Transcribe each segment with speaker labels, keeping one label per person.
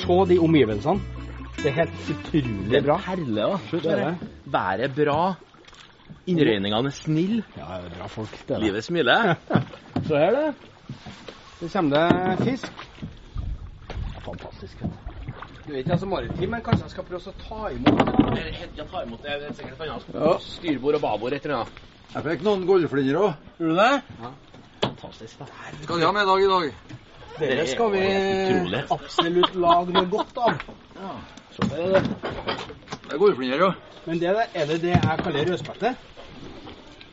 Speaker 1: se de omgivelsene. Det er helt utrolig
Speaker 2: Det er
Speaker 1: bra.
Speaker 2: en perle, da. Slutt
Speaker 1: Det er
Speaker 2: med det. Været er bra. Innrøyningene er snille.
Speaker 1: Ja, det er bra folk. Det er det.
Speaker 2: Livet smiler.
Speaker 1: Så er det. Så kommer det fisk. Fantastisk. Du vet ikke, altså maritim, men kanskje jeg skal prøve å ta imot
Speaker 2: Jeg tar imot det. Det er sikkert et annet
Speaker 1: Ja.
Speaker 2: styrbord og babord et eller annet.
Speaker 3: Jeg fikk noen goldflinner òg. Gjorde du det?
Speaker 2: Fantastisk. da.
Speaker 3: Skal de ha med i dag i dag?
Speaker 1: Dere skal vi
Speaker 2: Utrolig.
Speaker 1: absolutt lage noe godt av. Så det er det.
Speaker 3: Det er goldflinner òg.
Speaker 1: Men det der, er det det jeg kaller rødspette?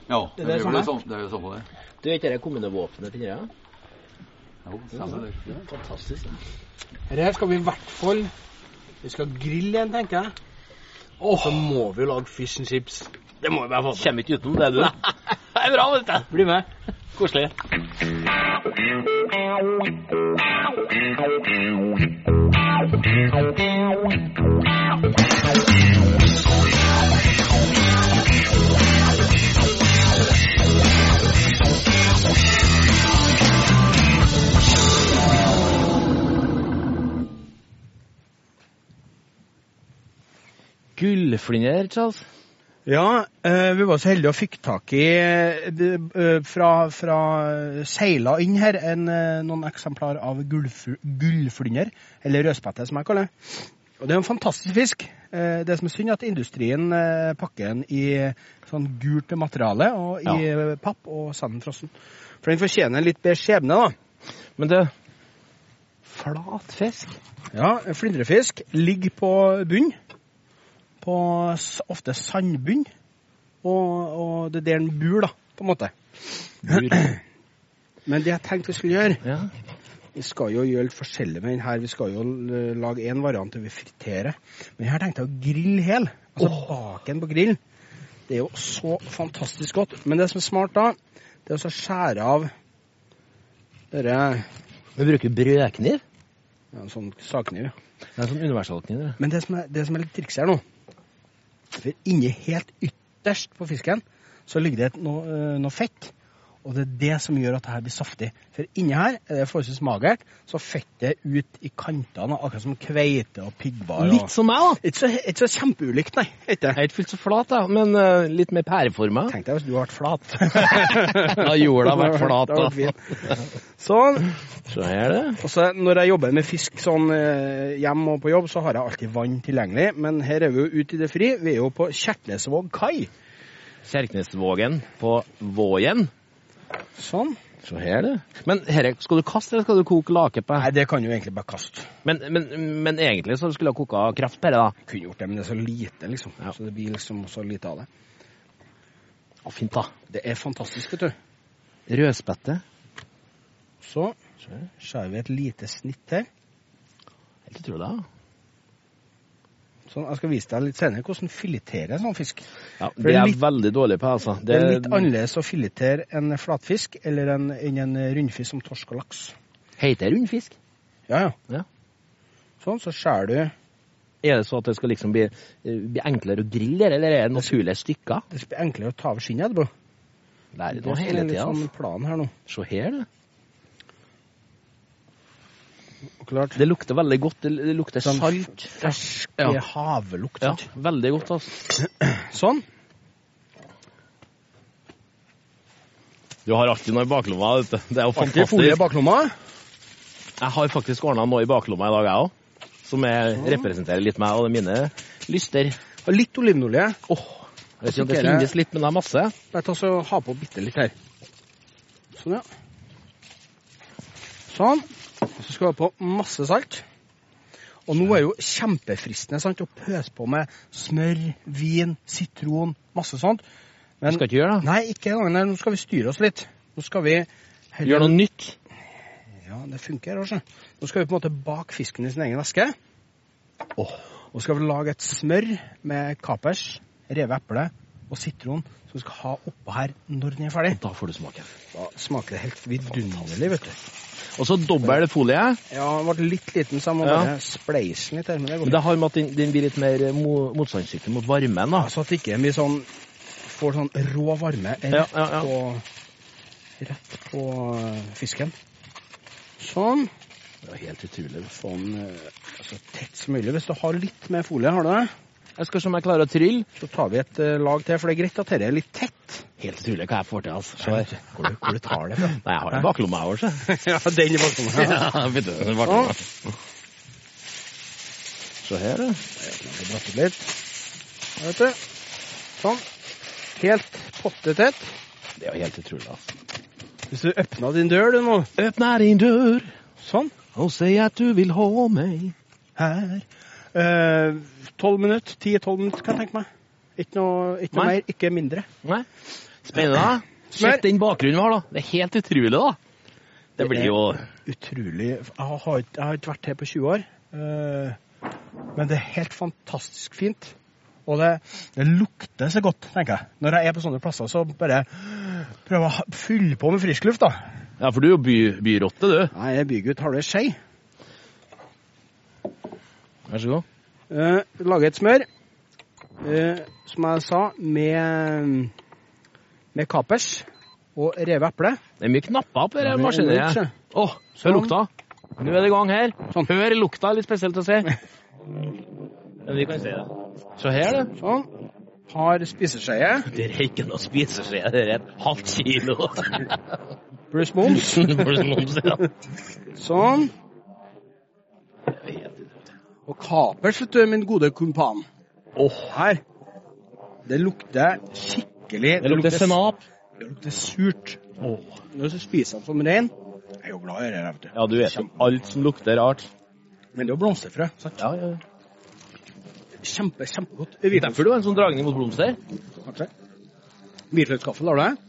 Speaker 3: Ja.
Speaker 1: Det
Speaker 3: Det
Speaker 1: er
Speaker 3: er
Speaker 1: det
Speaker 3: vel
Speaker 1: samme.
Speaker 3: det samme, det er jo det samme, det.
Speaker 2: Du vet det kommunevåpenet til greia?
Speaker 3: Jo, stemmer det.
Speaker 2: Fantastisk.
Speaker 1: Her skal vi i hvert fall Vi skal grille en, tenker jeg. Og så må vi jo lage fish and chips. Det må vi bare få til.
Speaker 2: Kommer ikke utenom det, du. Det er bra, vet du.
Speaker 1: Bli med.
Speaker 2: Koselig. Gullflinner, Charles.
Speaker 4: Ja, eh, vi var så heldige og fikk tak i eh, de- eh, fra, fra seila inn her en, eh, noen eksemplar av gullf- gullflynder, eller rødspette som jeg kaller det. Og det er en fantastisk fisk. Eh, Det som er synd er at industrien eh, pakker den i sånn gult materiale og i eh, papp og sanden frossen. For den fortjener en litt bedre skjebne da.
Speaker 2: Men du, flatfisk?
Speaker 4: Ja, flyndrefisk ligger på bunn, på s- ofte sandbunn, og, og det er der den bor da, på en måte. Men det jeg tenkte vi skulle gjøre
Speaker 2: Ja.
Speaker 4: Vi skal jo gjøre litt forskjellig med den her. Vi skal jo l- lage en variant til vi friterer. Men her tenkte jeg å grille hel. Altså bake den på grillen. Det er jo så fantastisk godt. Men det som er smart da, det er å så skjære av dere ja,
Speaker 2: Vi bruker brødkniv.
Speaker 4: en sånn sagkniv. ja.
Speaker 2: Det er sånn universalkniv. det.
Speaker 4: Men det som er, det som er litt triks her nå For inni helt ytterst på fisken så ligger det et, noe, eh, noe fett. Og det er det som gjør at det her blir saftig. For inni her er det forholdsvis magert, så fettet er ut i kantene, akkurat som kveite og piggvar.
Speaker 2: Litt
Speaker 4: og...
Speaker 2: som meg, da.
Speaker 4: Ikke så, ikke så kjempeulikt, nei. Ikke.
Speaker 2: Jeg er ikke fullt så flat, da, men eh, litt mer pæreforma.
Speaker 4: Tenk deg hvis du hadde vært flat.
Speaker 2: Da jorda har vært flat,
Speaker 4: Det hadde
Speaker 2: da.
Speaker 4: vært fint. Sånn.
Speaker 2: Så er det.
Speaker 4: Og så når jeg jobber med fisk sånn eh, hjem og på jobb, så har jeg alltid vann tilgjengelig. Men her er vi jo ute i det fri. Vi er jo på Kjertnesvåg kai.
Speaker 2: Kjerknesvågen på Vågen.
Speaker 4: Sånn.
Speaker 2: Så her, det. Men herre, skal du kaste eller skal du koke lake på?
Speaker 4: Nei, det kan du egentlig bare kaste.
Speaker 2: Men, men, men egentlig så skulle du ha koka kraft på det, da.
Speaker 4: Kunne gjort det, men det er så lite, liksom.
Speaker 2: Ja.
Speaker 4: Så det blir liksom så lite av det.
Speaker 2: Å, fint, da.
Speaker 4: Det er fantastisk, vet du.
Speaker 2: Rødspette.
Speaker 4: Så
Speaker 2: Så er det.
Speaker 4: skjærer vi et lite snitt her.
Speaker 2: Helt utrolig, da.
Speaker 4: Sånn, Jeg skal vise deg litt senere hvordan filetere en sånn fisk.
Speaker 2: Ja,
Speaker 4: det
Speaker 2: det er
Speaker 4: er
Speaker 2: jeg veldig dårlig på, altså.
Speaker 4: Det er litt annerledes å filetere en flatfisk eller en, enn en rundfisk som torsk og laks.
Speaker 2: Heter det rundfisk?
Speaker 4: Ja, ja.
Speaker 2: Ja.
Speaker 4: Sånn, så skjærer du
Speaker 2: Er det så at det skal liksom bli, bli enklere å grille, det, eller er det naturlige stykker?
Speaker 4: Det blir enklere å ta av skinnet etterpå.
Speaker 2: Lærer
Speaker 4: Det
Speaker 2: nå hele
Speaker 4: er
Speaker 2: tida, altså.
Speaker 4: liksom planen her nå.
Speaker 2: Se her, du.
Speaker 4: Og klart.
Speaker 2: Det lukter veldig godt. Det, det lukter
Speaker 4: Sånn
Speaker 2: salt.
Speaker 4: Fersk
Speaker 2: Ja.
Speaker 4: eh, havlukt.
Speaker 2: Ja,
Speaker 4: sant?
Speaker 2: veldig godt, altså.
Speaker 4: Sånn.
Speaker 2: Du har alltid noe i baklomma, vet du. Det er jo
Speaker 4: Alltid folie i
Speaker 2: fantastisk.
Speaker 4: baklomma.
Speaker 2: Jeg har faktisk ordna noe i baklomma i dag, jeg òg. Som jeg representerer litt meg og mine lyster.
Speaker 4: Og litt olivenolje.
Speaker 2: Åh, jeg vet ikke om det
Speaker 4: Sorterer.
Speaker 2: finnes litt, men det er masse.
Speaker 4: Bare ta så ha på bitte litt her. Sånn, ja. Sånn. Og Så skal vi ha på masse salt. Og nå er jo kjempefristende sant, å pøse på med smør, vin, sitron, masse sånt.
Speaker 2: Du skal ikke gjøre det?
Speaker 4: Nei, ikke en gang. Nei, Nå skal vi styre oss litt. Nå skal vi heller-
Speaker 2: Gjør noe nytt.
Speaker 4: Ja, det funker også. Nå skal vi på en måte bake fisken i sin egen væske. Og skal vi lage et smør med kapers, revet eple og sitron som vi skal ha oppå her når den er ferdig.
Speaker 2: Da får du smake.
Speaker 4: Da smaker det helt vidunderlig, vet du.
Speaker 2: Og så dobbel folie.
Speaker 4: Ja, den ble litt liten, så jeg må
Speaker 2: Ja.
Speaker 4: bare spleise den litt her. Men det går
Speaker 2: Men det har med at den, den blir litt mer mo motstandsdyktig mot varmen, da.
Speaker 4: bra. Så at det ikke blir sånn Får sånn rå varme rett,
Speaker 2: Ja, ja, ja.
Speaker 4: På, rett på fisken. eh, Sånn. Det er helt utrolig. Sånn eh, så tett som mulig. Hvis du har litt mer folie, har du det,
Speaker 2: Jeg skal se om jeg klarer å trylle.
Speaker 4: så tar vi et eh, lag til, for det er greit at dette er litt tett.
Speaker 2: Helt utrolig hva jeg får til, altså. Se
Speaker 4: Hvor
Speaker 2: her.
Speaker 4: du, hvor du tar det fra.
Speaker 2: Nei, jeg har en baklomma her også, se.
Speaker 4: ja, den i baklomma. Ja.
Speaker 2: Ja, vet du, en baklomma. Se her, du.
Speaker 4: Vi dratt ut litt. Vet du. Sånn. Helt pottetett.
Speaker 2: Det er jo helt utrolig, altså.
Speaker 4: Hvis du åpna din dør du nå,
Speaker 2: Åpner din dør
Speaker 4: sånn,
Speaker 2: og sier at du vil ha meg.
Speaker 4: her Eh, Tolv minutter, ti-tolv minutter, kan jeg tenke meg. Ikke noe, ikke noe
Speaker 2: Nei.
Speaker 4: mer, ikke mindre.
Speaker 2: Nei. Spennende. da.
Speaker 4: Smør.
Speaker 2: Sjekk den bakgrunnen vi har, da. Det er helt utrolig, da. Det
Speaker 4: Det
Speaker 2: blir
Speaker 4: er-
Speaker 2: jo
Speaker 4: Utrolig. Jeg har, ikke- jeg har ikke vært her på 20 år, eh, men det er helt fantastisk fint. Og det, det lukter så godt, tenker jeg. Når jeg er på sånne plasser, så bare prøver jeg å ha- fylle på med frisk luft, da.
Speaker 2: Ja, for du er jo by, byrotte, du.
Speaker 4: Nei, jeg er bygutt, har du ei skei?
Speaker 2: Vær så god.
Speaker 4: Eh, lage et smør, eh, som jeg sa, med, med kapers og revet eple.
Speaker 2: Det er mye knapper opp i
Speaker 4: Ja,
Speaker 2: denne
Speaker 4: det er lurt,
Speaker 2: maskineriet.
Speaker 4: se.
Speaker 2: Å,
Speaker 4: Sånn.
Speaker 2: hør lukta. Nå er det i gang her.
Speaker 4: Sånn.
Speaker 2: Hør lukta, litt spesielt å se. Men vi kan se det. Se her, du.
Speaker 4: Sånn. Har spiseskeie
Speaker 2: Det er ikke noe spiseskje, det er et halvt kilo.
Speaker 4: pluss moms.
Speaker 2: For som noen sier, ja.
Speaker 4: Sånn.
Speaker 2: Det er helt utrolig.
Speaker 4: Og kapers, vet du, min gode kumpan.
Speaker 2: Åh,
Speaker 4: Her. Det lukter skikkelig
Speaker 2: det lukter sennep.
Speaker 4: Det lukter surt.
Speaker 2: Åh.
Speaker 4: Når du spiser den som rein Jeg er jo glad i det, vet du.
Speaker 2: Ja, du vet jo alt som lukter rart.
Speaker 4: Men det er jo blomsterfrø. sant?
Speaker 2: Ja, ja.
Speaker 4: Kjempe, kjempegodt.
Speaker 2: Derfor du har en sånn dragning mot blomster.
Speaker 4: Kanskje. Hvitløkskaffe, lar du det?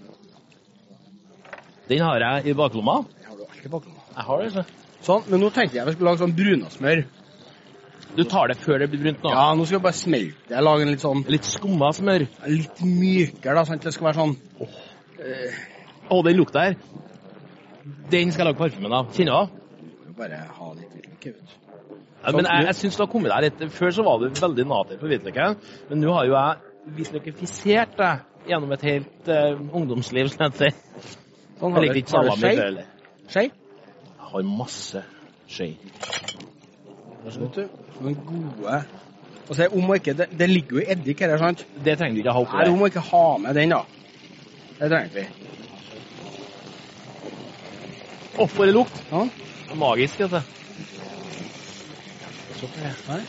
Speaker 2: Den har jeg i baklomma.
Speaker 4: Det har du alltid bakom deg.
Speaker 2: Jeg har det, så.
Speaker 4: Sånn, men nå tenkte jeg vi skulle lage sånn brunasmør.
Speaker 2: Du tar det før det blir brunt nå.
Speaker 4: Ja, nå skal vi bare smelte det. Lage en litt sånn
Speaker 2: Litt skumma smør.
Speaker 4: litt mykere, da. sånn at Det skal være sånn
Speaker 2: Å, den lukta her. Den skal jeg lage parfymen av. Kjenner du den?
Speaker 4: Bare ha litt hvitløk ut.
Speaker 2: Ja, men jeg, jeg syns du har kommet deg litt Før så var du veldig nater på hvitløken, men nå har jo jeg visstnok fisert deg gjennom et helt eh, ungdomsliv, som jeg sier.
Speaker 4: Sånn
Speaker 2: Jeg liker ikke
Speaker 4: har du
Speaker 2: salami
Speaker 4: skje.
Speaker 2: heller.
Speaker 4: Skje.
Speaker 2: Jeg har masse skje.
Speaker 4: Vet du. Noen gode Og så er det om å ikke Det, det ligger jo i eddik her, sant?
Speaker 2: Det trenger du ikke ha oppi
Speaker 4: Her
Speaker 2: deg.
Speaker 4: om å ikke ha med den, da. Det trenger vi.
Speaker 2: Å, for en lukt!
Speaker 4: Sånn.
Speaker 2: Magisk, vet du.
Speaker 4: Her.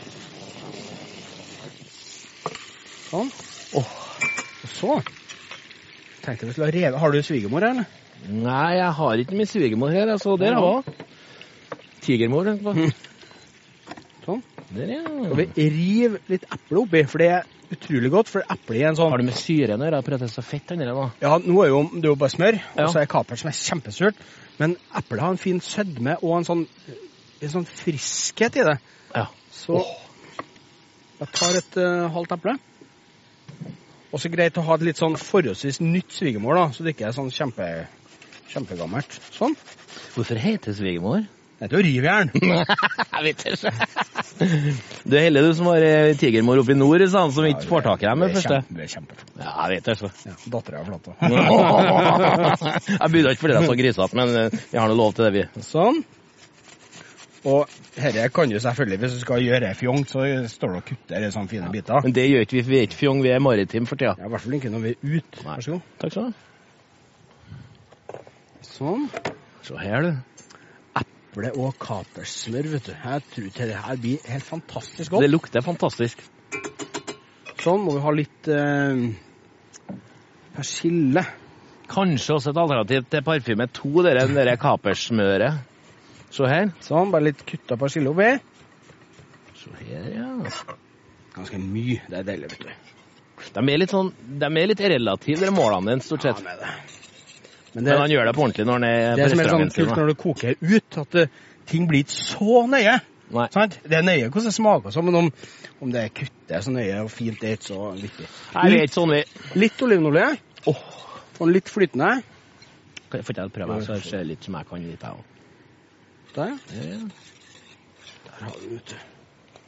Speaker 4: Sånn. Åh. Og så tenkte jeg vi skulle ha revet Har du svigermor, eller?
Speaker 2: Nei, jeg har ikke min svigermor her, altså. Der var hun. Tigermor, tenkte jeg på.
Speaker 4: Sånn.
Speaker 2: Der, ja.
Speaker 4: Og vi river litt eple oppi, for det er utrolig godt. For eple er en sånn
Speaker 2: Har du med syren å gjøre? Jeg prøver å så fett den der nå.
Speaker 4: Ja, nå er jo, det er jo bare smør,
Speaker 2: Ja.
Speaker 4: og så er kaperen som er kjempesurt. Men eplet har en fin sødme og en sånn, en sånn friskhet i det.
Speaker 2: Ja.
Speaker 4: Så jeg tar et eh, halvt eple. Og så greit å ha et litt sånn forholdsvis nytt svigermor, da, så det ikke er sånn kjempe, kjempegammelt. Sånn.
Speaker 2: Hvorfor heter svigermor?
Speaker 4: Det er til å rive jern.
Speaker 2: Jeg vet ikke. Du er heldig du som har eh, tigermor oppe i nord, sa han, som ikke får tak i deg
Speaker 4: Det
Speaker 2: med
Speaker 4: er
Speaker 2: første.
Speaker 4: kjempe- Det er kjempeflott.
Speaker 2: Ja, jeg vet altså. ikke.
Speaker 4: Ja, Dattera er flott.
Speaker 2: Jeg bydde ikke for dere så grisete, men eh, vi har nå lov til det, vi.
Speaker 4: Sånn. Og herre kan jo selvfølgelig, hvis du skal gjøre det fjongt, så står det og kutter i sånne fine biter.
Speaker 2: Men det gjør ikke vi, for vi er ikke fjong, vi er maritime for tida.
Speaker 4: Ja, I hvert fall ikke når vi er ute.
Speaker 2: Nei.
Speaker 4: Vær så god.
Speaker 2: Takk skal du ha.
Speaker 4: Sånn.
Speaker 2: Se her, du.
Speaker 4: Eple- og kapersmør, vet du. Jeg tror til det her blir helt fantastisk
Speaker 2: Det
Speaker 4: godt.
Speaker 2: lukter fantastisk.
Speaker 4: Sånn må vi ha litt eh, persille.
Speaker 2: Kanskje også et alternativ til parfyme to, det der- det der kapersmøret. Se her.
Speaker 4: Sånn, bare litt kutta persille oppi.
Speaker 2: Se her, ja.
Speaker 4: Ganske mye. Det er deilig, vet du.
Speaker 2: De er litt sånn, de er litt relative, de målene dine, stort
Speaker 4: Ja,
Speaker 2: sett.
Speaker 4: med det. Men det,
Speaker 2: Men han gjør det på ordentlig når han er
Speaker 4: det
Speaker 2: på
Speaker 4: som er sånn
Speaker 2: restauranten sin.
Speaker 4: kult når du koker ut, at eh, ting blir ikke så nøye.
Speaker 2: da. Nei.
Speaker 4: Sant? Det er nøye hvordan det smaker, og sånn, men om, om det er kuttet så nøye og fint, det er ikke så viktig.
Speaker 2: Nei, vi er ikke sånn, vi.
Speaker 4: Litt olivenolje. Og litt flytende.
Speaker 2: Kan jeg få til å prøve her, så jeg ser litt som jeg kan litt, jeg òg.
Speaker 4: Der.
Speaker 2: Ja, ja.
Speaker 4: Der har vi ute.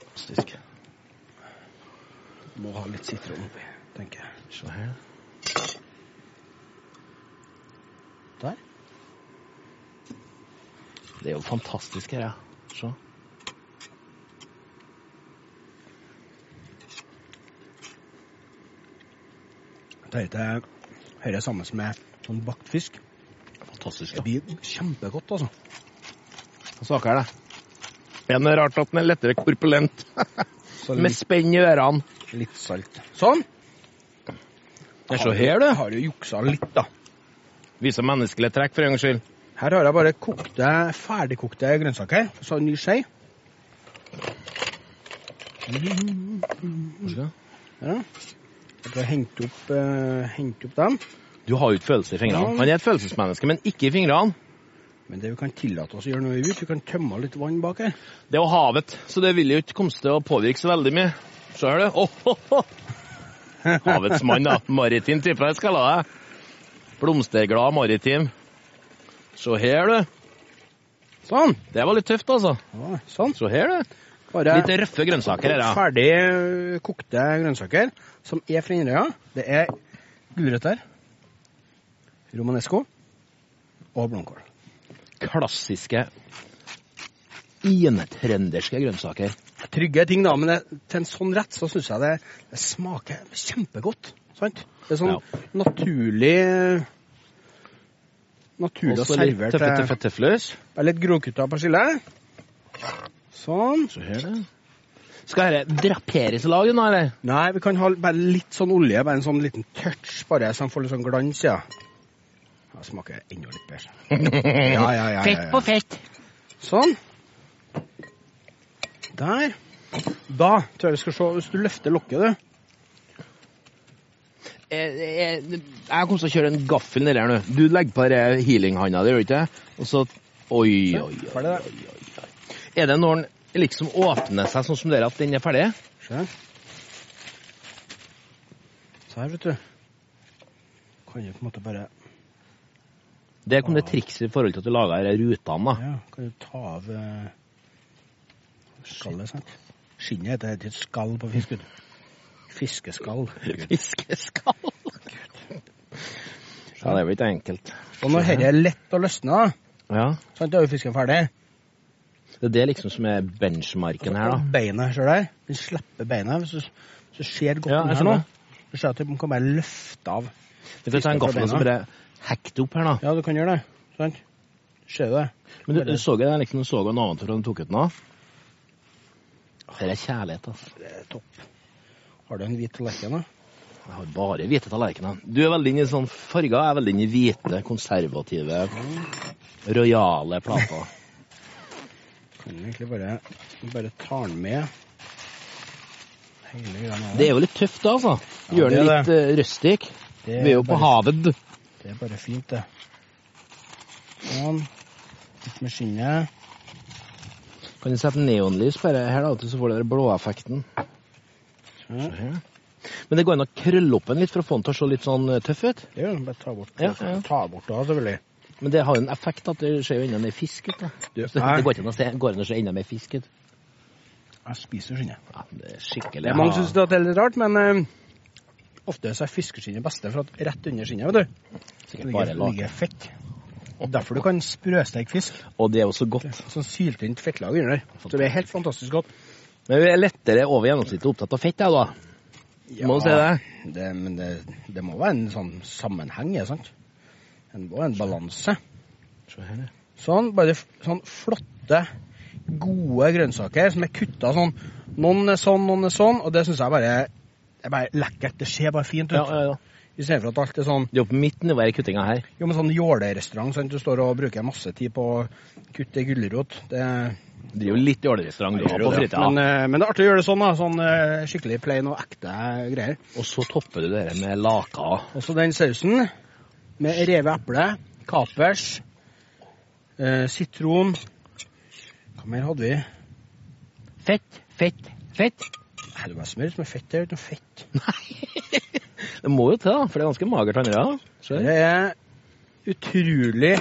Speaker 2: Fantastisk.
Speaker 4: Må ha litt sitron oppi, tenker jeg.
Speaker 2: Se her.
Speaker 4: Der.
Speaker 2: Det er jo fantastisk her, ja. Se.
Speaker 4: Dette hører sammen med sånn bakt fisk.
Speaker 2: Fantastisk.
Speaker 4: Det
Speaker 2: da.
Speaker 4: blir kjempegodt, altså.
Speaker 2: Saker er det. Men det er rart at den er lettere korpulent.
Speaker 4: Så
Speaker 2: Med
Speaker 4: litt,
Speaker 2: spenn i ørene.
Speaker 4: litt salt. Sånn.
Speaker 2: Ja, Se her, du.
Speaker 4: Har du juksa litt, da.
Speaker 2: Viser menneskelige trekk, for en gangs skyld.
Speaker 4: Her har jeg bare kokte, ferdigkokte grønnsaker. Så en ny skje. Ja. Jeg skal hente opp, eh, hente opp dem.
Speaker 2: Du har jo ikke følelser i fingrene. Han er et følelsesmenneske, men ikke i fingrene.
Speaker 4: Men det vi kan tillate oss å gjøre når vi er ute, vi kan tømme litt vann bak her.
Speaker 2: Det er jo havet, så det vil jo ikke komme til å påvirke så veldig mye. Se her, du. Åh, åh, åh. Havets mann, da. Maritim type, jeg skal la deg. Blomsterglad maritim. Se her, du.
Speaker 4: Sånn.
Speaker 2: Det var litt tøft, altså.
Speaker 4: Ja, sånn.
Speaker 2: Se her, du.
Speaker 4: Bare
Speaker 2: Litt røffe grønnsaker her, ja.
Speaker 4: ferdig eh, kokte grønnsaker som er fra Inderøya. Det er gulrøtter, romanesco og blomkål.
Speaker 2: Klassiske intrønderske grønnsaker.
Speaker 4: Trygge ting, da, men det, til en sånn rett så syns jeg det, det smaker kjempegodt. Sant? Det er sånn
Speaker 2: Ja.
Speaker 4: naturlig Naturlig å
Speaker 2: Også litt
Speaker 4: servere
Speaker 2: tøffe,
Speaker 4: til
Speaker 2: tøffe tøfløs.
Speaker 4: Bare litt grovkutta persille. Sånn.
Speaker 2: Se her, du. Skal dette draperes i lag, nå, eller?
Speaker 4: Nei, vi kan ha bare litt sånn olje, bare en sånn liten touch, bare, så den får litt sånn glans, ja. Det smaker enda litt bedre. Ja, ja, ja, ja, ja.
Speaker 2: Eh, fett.
Speaker 4: Sånn. Der. Da tror jeg vi skal se Hvis du løfter lokket, du.
Speaker 2: Jeg, jeg, Eh, jeg kommer til å kjøre en gaffel nedi her nå. Du legger på denne healing-handa di, gjør du ikke det? Og så Oi, oi,
Speaker 4: Ferdig, det.
Speaker 2: oi. oi, oi. Er det når den liksom åpner seg sånn som dere, at den er ferdig?
Speaker 4: Se her. Se her, vet du. Kan jo på en måte bare
Speaker 2: Der kom det trikset i forhold til at du laga disse rutene. da.
Speaker 4: Ja, kan du ta av eh, skallet, sant? Skinnet heter heter et skall på fisk, vet du. Fiskeskall.
Speaker 2: Fiskeskall. Ja, det blir ikke enkelt.
Speaker 4: Og når dette er lett å løsne,
Speaker 2: Ja.
Speaker 4: sant, da er jo fisken ferdig.
Speaker 2: Det er det liksom som er benchmarken her, da.
Speaker 4: Og Beina ser der. Den slipper beina. Hvis du, hvis du ser godt
Speaker 2: Ja,
Speaker 4: den
Speaker 2: jeg
Speaker 4: her nå,
Speaker 2: skjønner.
Speaker 4: så ser du at den kan bare løfte av.
Speaker 2: Du kan ta en gaffel og så bare hekte opp her, da.
Speaker 4: Ja, du kan gjøre det. Sant? Ser du det?
Speaker 2: Men du, du så jo den liksom, du så jo den ovenfor og du tok ut den av. Det er kjærlighet, altså.
Speaker 4: Det er topp. Har du en hvit tallerken, da?
Speaker 2: Jeg har bare hvite tallerkener. Du er veldig inne i sånn farger, jeg er veldig inne i hvite, konservative, rojale plater.
Speaker 4: Kan du egentlig bare, bare ta den med hele greia nå.
Speaker 2: Det er jo litt tøft, da, altså. Gjør den
Speaker 4: det er
Speaker 2: litt uh, rustic.
Speaker 4: Det
Speaker 2: Vi er jo på
Speaker 4: bare-
Speaker 2: havet.
Speaker 4: Det er bare fint, det. Sånn. Litt med skinnet.
Speaker 2: Kan du sette neonlys på dette her, da, så får du den blåeffekten.
Speaker 4: Sånn.
Speaker 2: Se her. Men det går an å krølle opp den litt for å få den til å se litt sånn eh, tøff ut.
Speaker 4: Det gjør du. Bare ta bort
Speaker 2: Ja, ja.
Speaker 4: Ta bort da, selvfølgelig.
Speaker 2: Men det har jo en effekt at det skjer jo enda mer fisk ut. da.
Speaker 4: Du,
Speaker 2: Så
Speaker 4: nei.
Speaker 2: det går ikke an å se, går an å se enda mer fisk ut.
Speaker 4: Jeg spiser skinnet.
Speaker 2: Ja, det er skikkelig.
Speaker 4: Det er mange
Speaker 2: Ja.
Speaker 4: som syns det er litt rart, men eh, ofte så er fiskeskinnet beste, for at rett under skinnet, vet du,
Speaker 2: Sikkert
Speaker 4: ligger,
Speaker 2: bare laken.
Speaker 4: ligger fett. Og derfor du kan sprøsteke fisk.
Speaker 2: Og det er også godt.
Speaker 4: Sånn syltynt fettlag under der. Så det er helt fantastisk godt.
Speaker 2: Men vi er lettere over gjennomsnittet opptatt av fett, jeg, da.
Speaker 4: Ja,
Speaker 2: Må du si det?
Speaker 4: det men det, det må være en sånn sammenheng, ja, sant? Det må være en balanse.
Speaker 2: Se her,
Speaker 4: Sånn, bare f- sånn flotte, gode grønnsaker som er kutta sånn. Noen er sånn, noen er sånn, og det syns jeg bare er bare lekkert. Det ser bare fint ut.
Speaker 2: Ja, ja, ja.
Speaker 4: I stedet for at alt er sånn
Speaker 2: Det er jo på mitt nivå i kuttinga her.
Speaker 4: jo, men sånn jålerestaurant, sant? du står og bruker masse tid på å kutte gulrot. Det,
Speaker 2: Det driver jo litt jålerestaurant du har på fritida.
Speaker 4: men, eh, men det er artig å gjøre det sånn, da. Sånn eh, skikkelig plain og ekte greier.
Speaker 2: Og så topper du det her med laka.
Speaker 4: Og så den sausen med revet eple, kapers, eh, sitron Hva mer hadde vi?
Speaker 2: Fett, fett, fett.
Speaker 4: Nei, det var smør som er fett. Det er jo ikke noe fett.
Speaker 2: Det må jo til, da, for det er ganske magert andre. da. Se her.
Speaker 4: Det er utrolig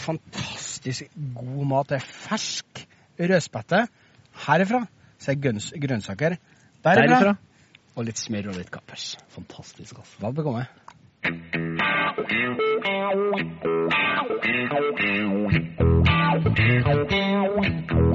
Speaker 4: fantastisk god mat. Det er fersk rødspette herifra. Så er grønns grønnsaker derifra,
Speaker 2: Derifra.
Speaker 4: Og litt smør og litt kapers.
Speaker 2: Fantastisk, altså.
Speaker 4: Vel bekomme.
Speaker 5: Thank you.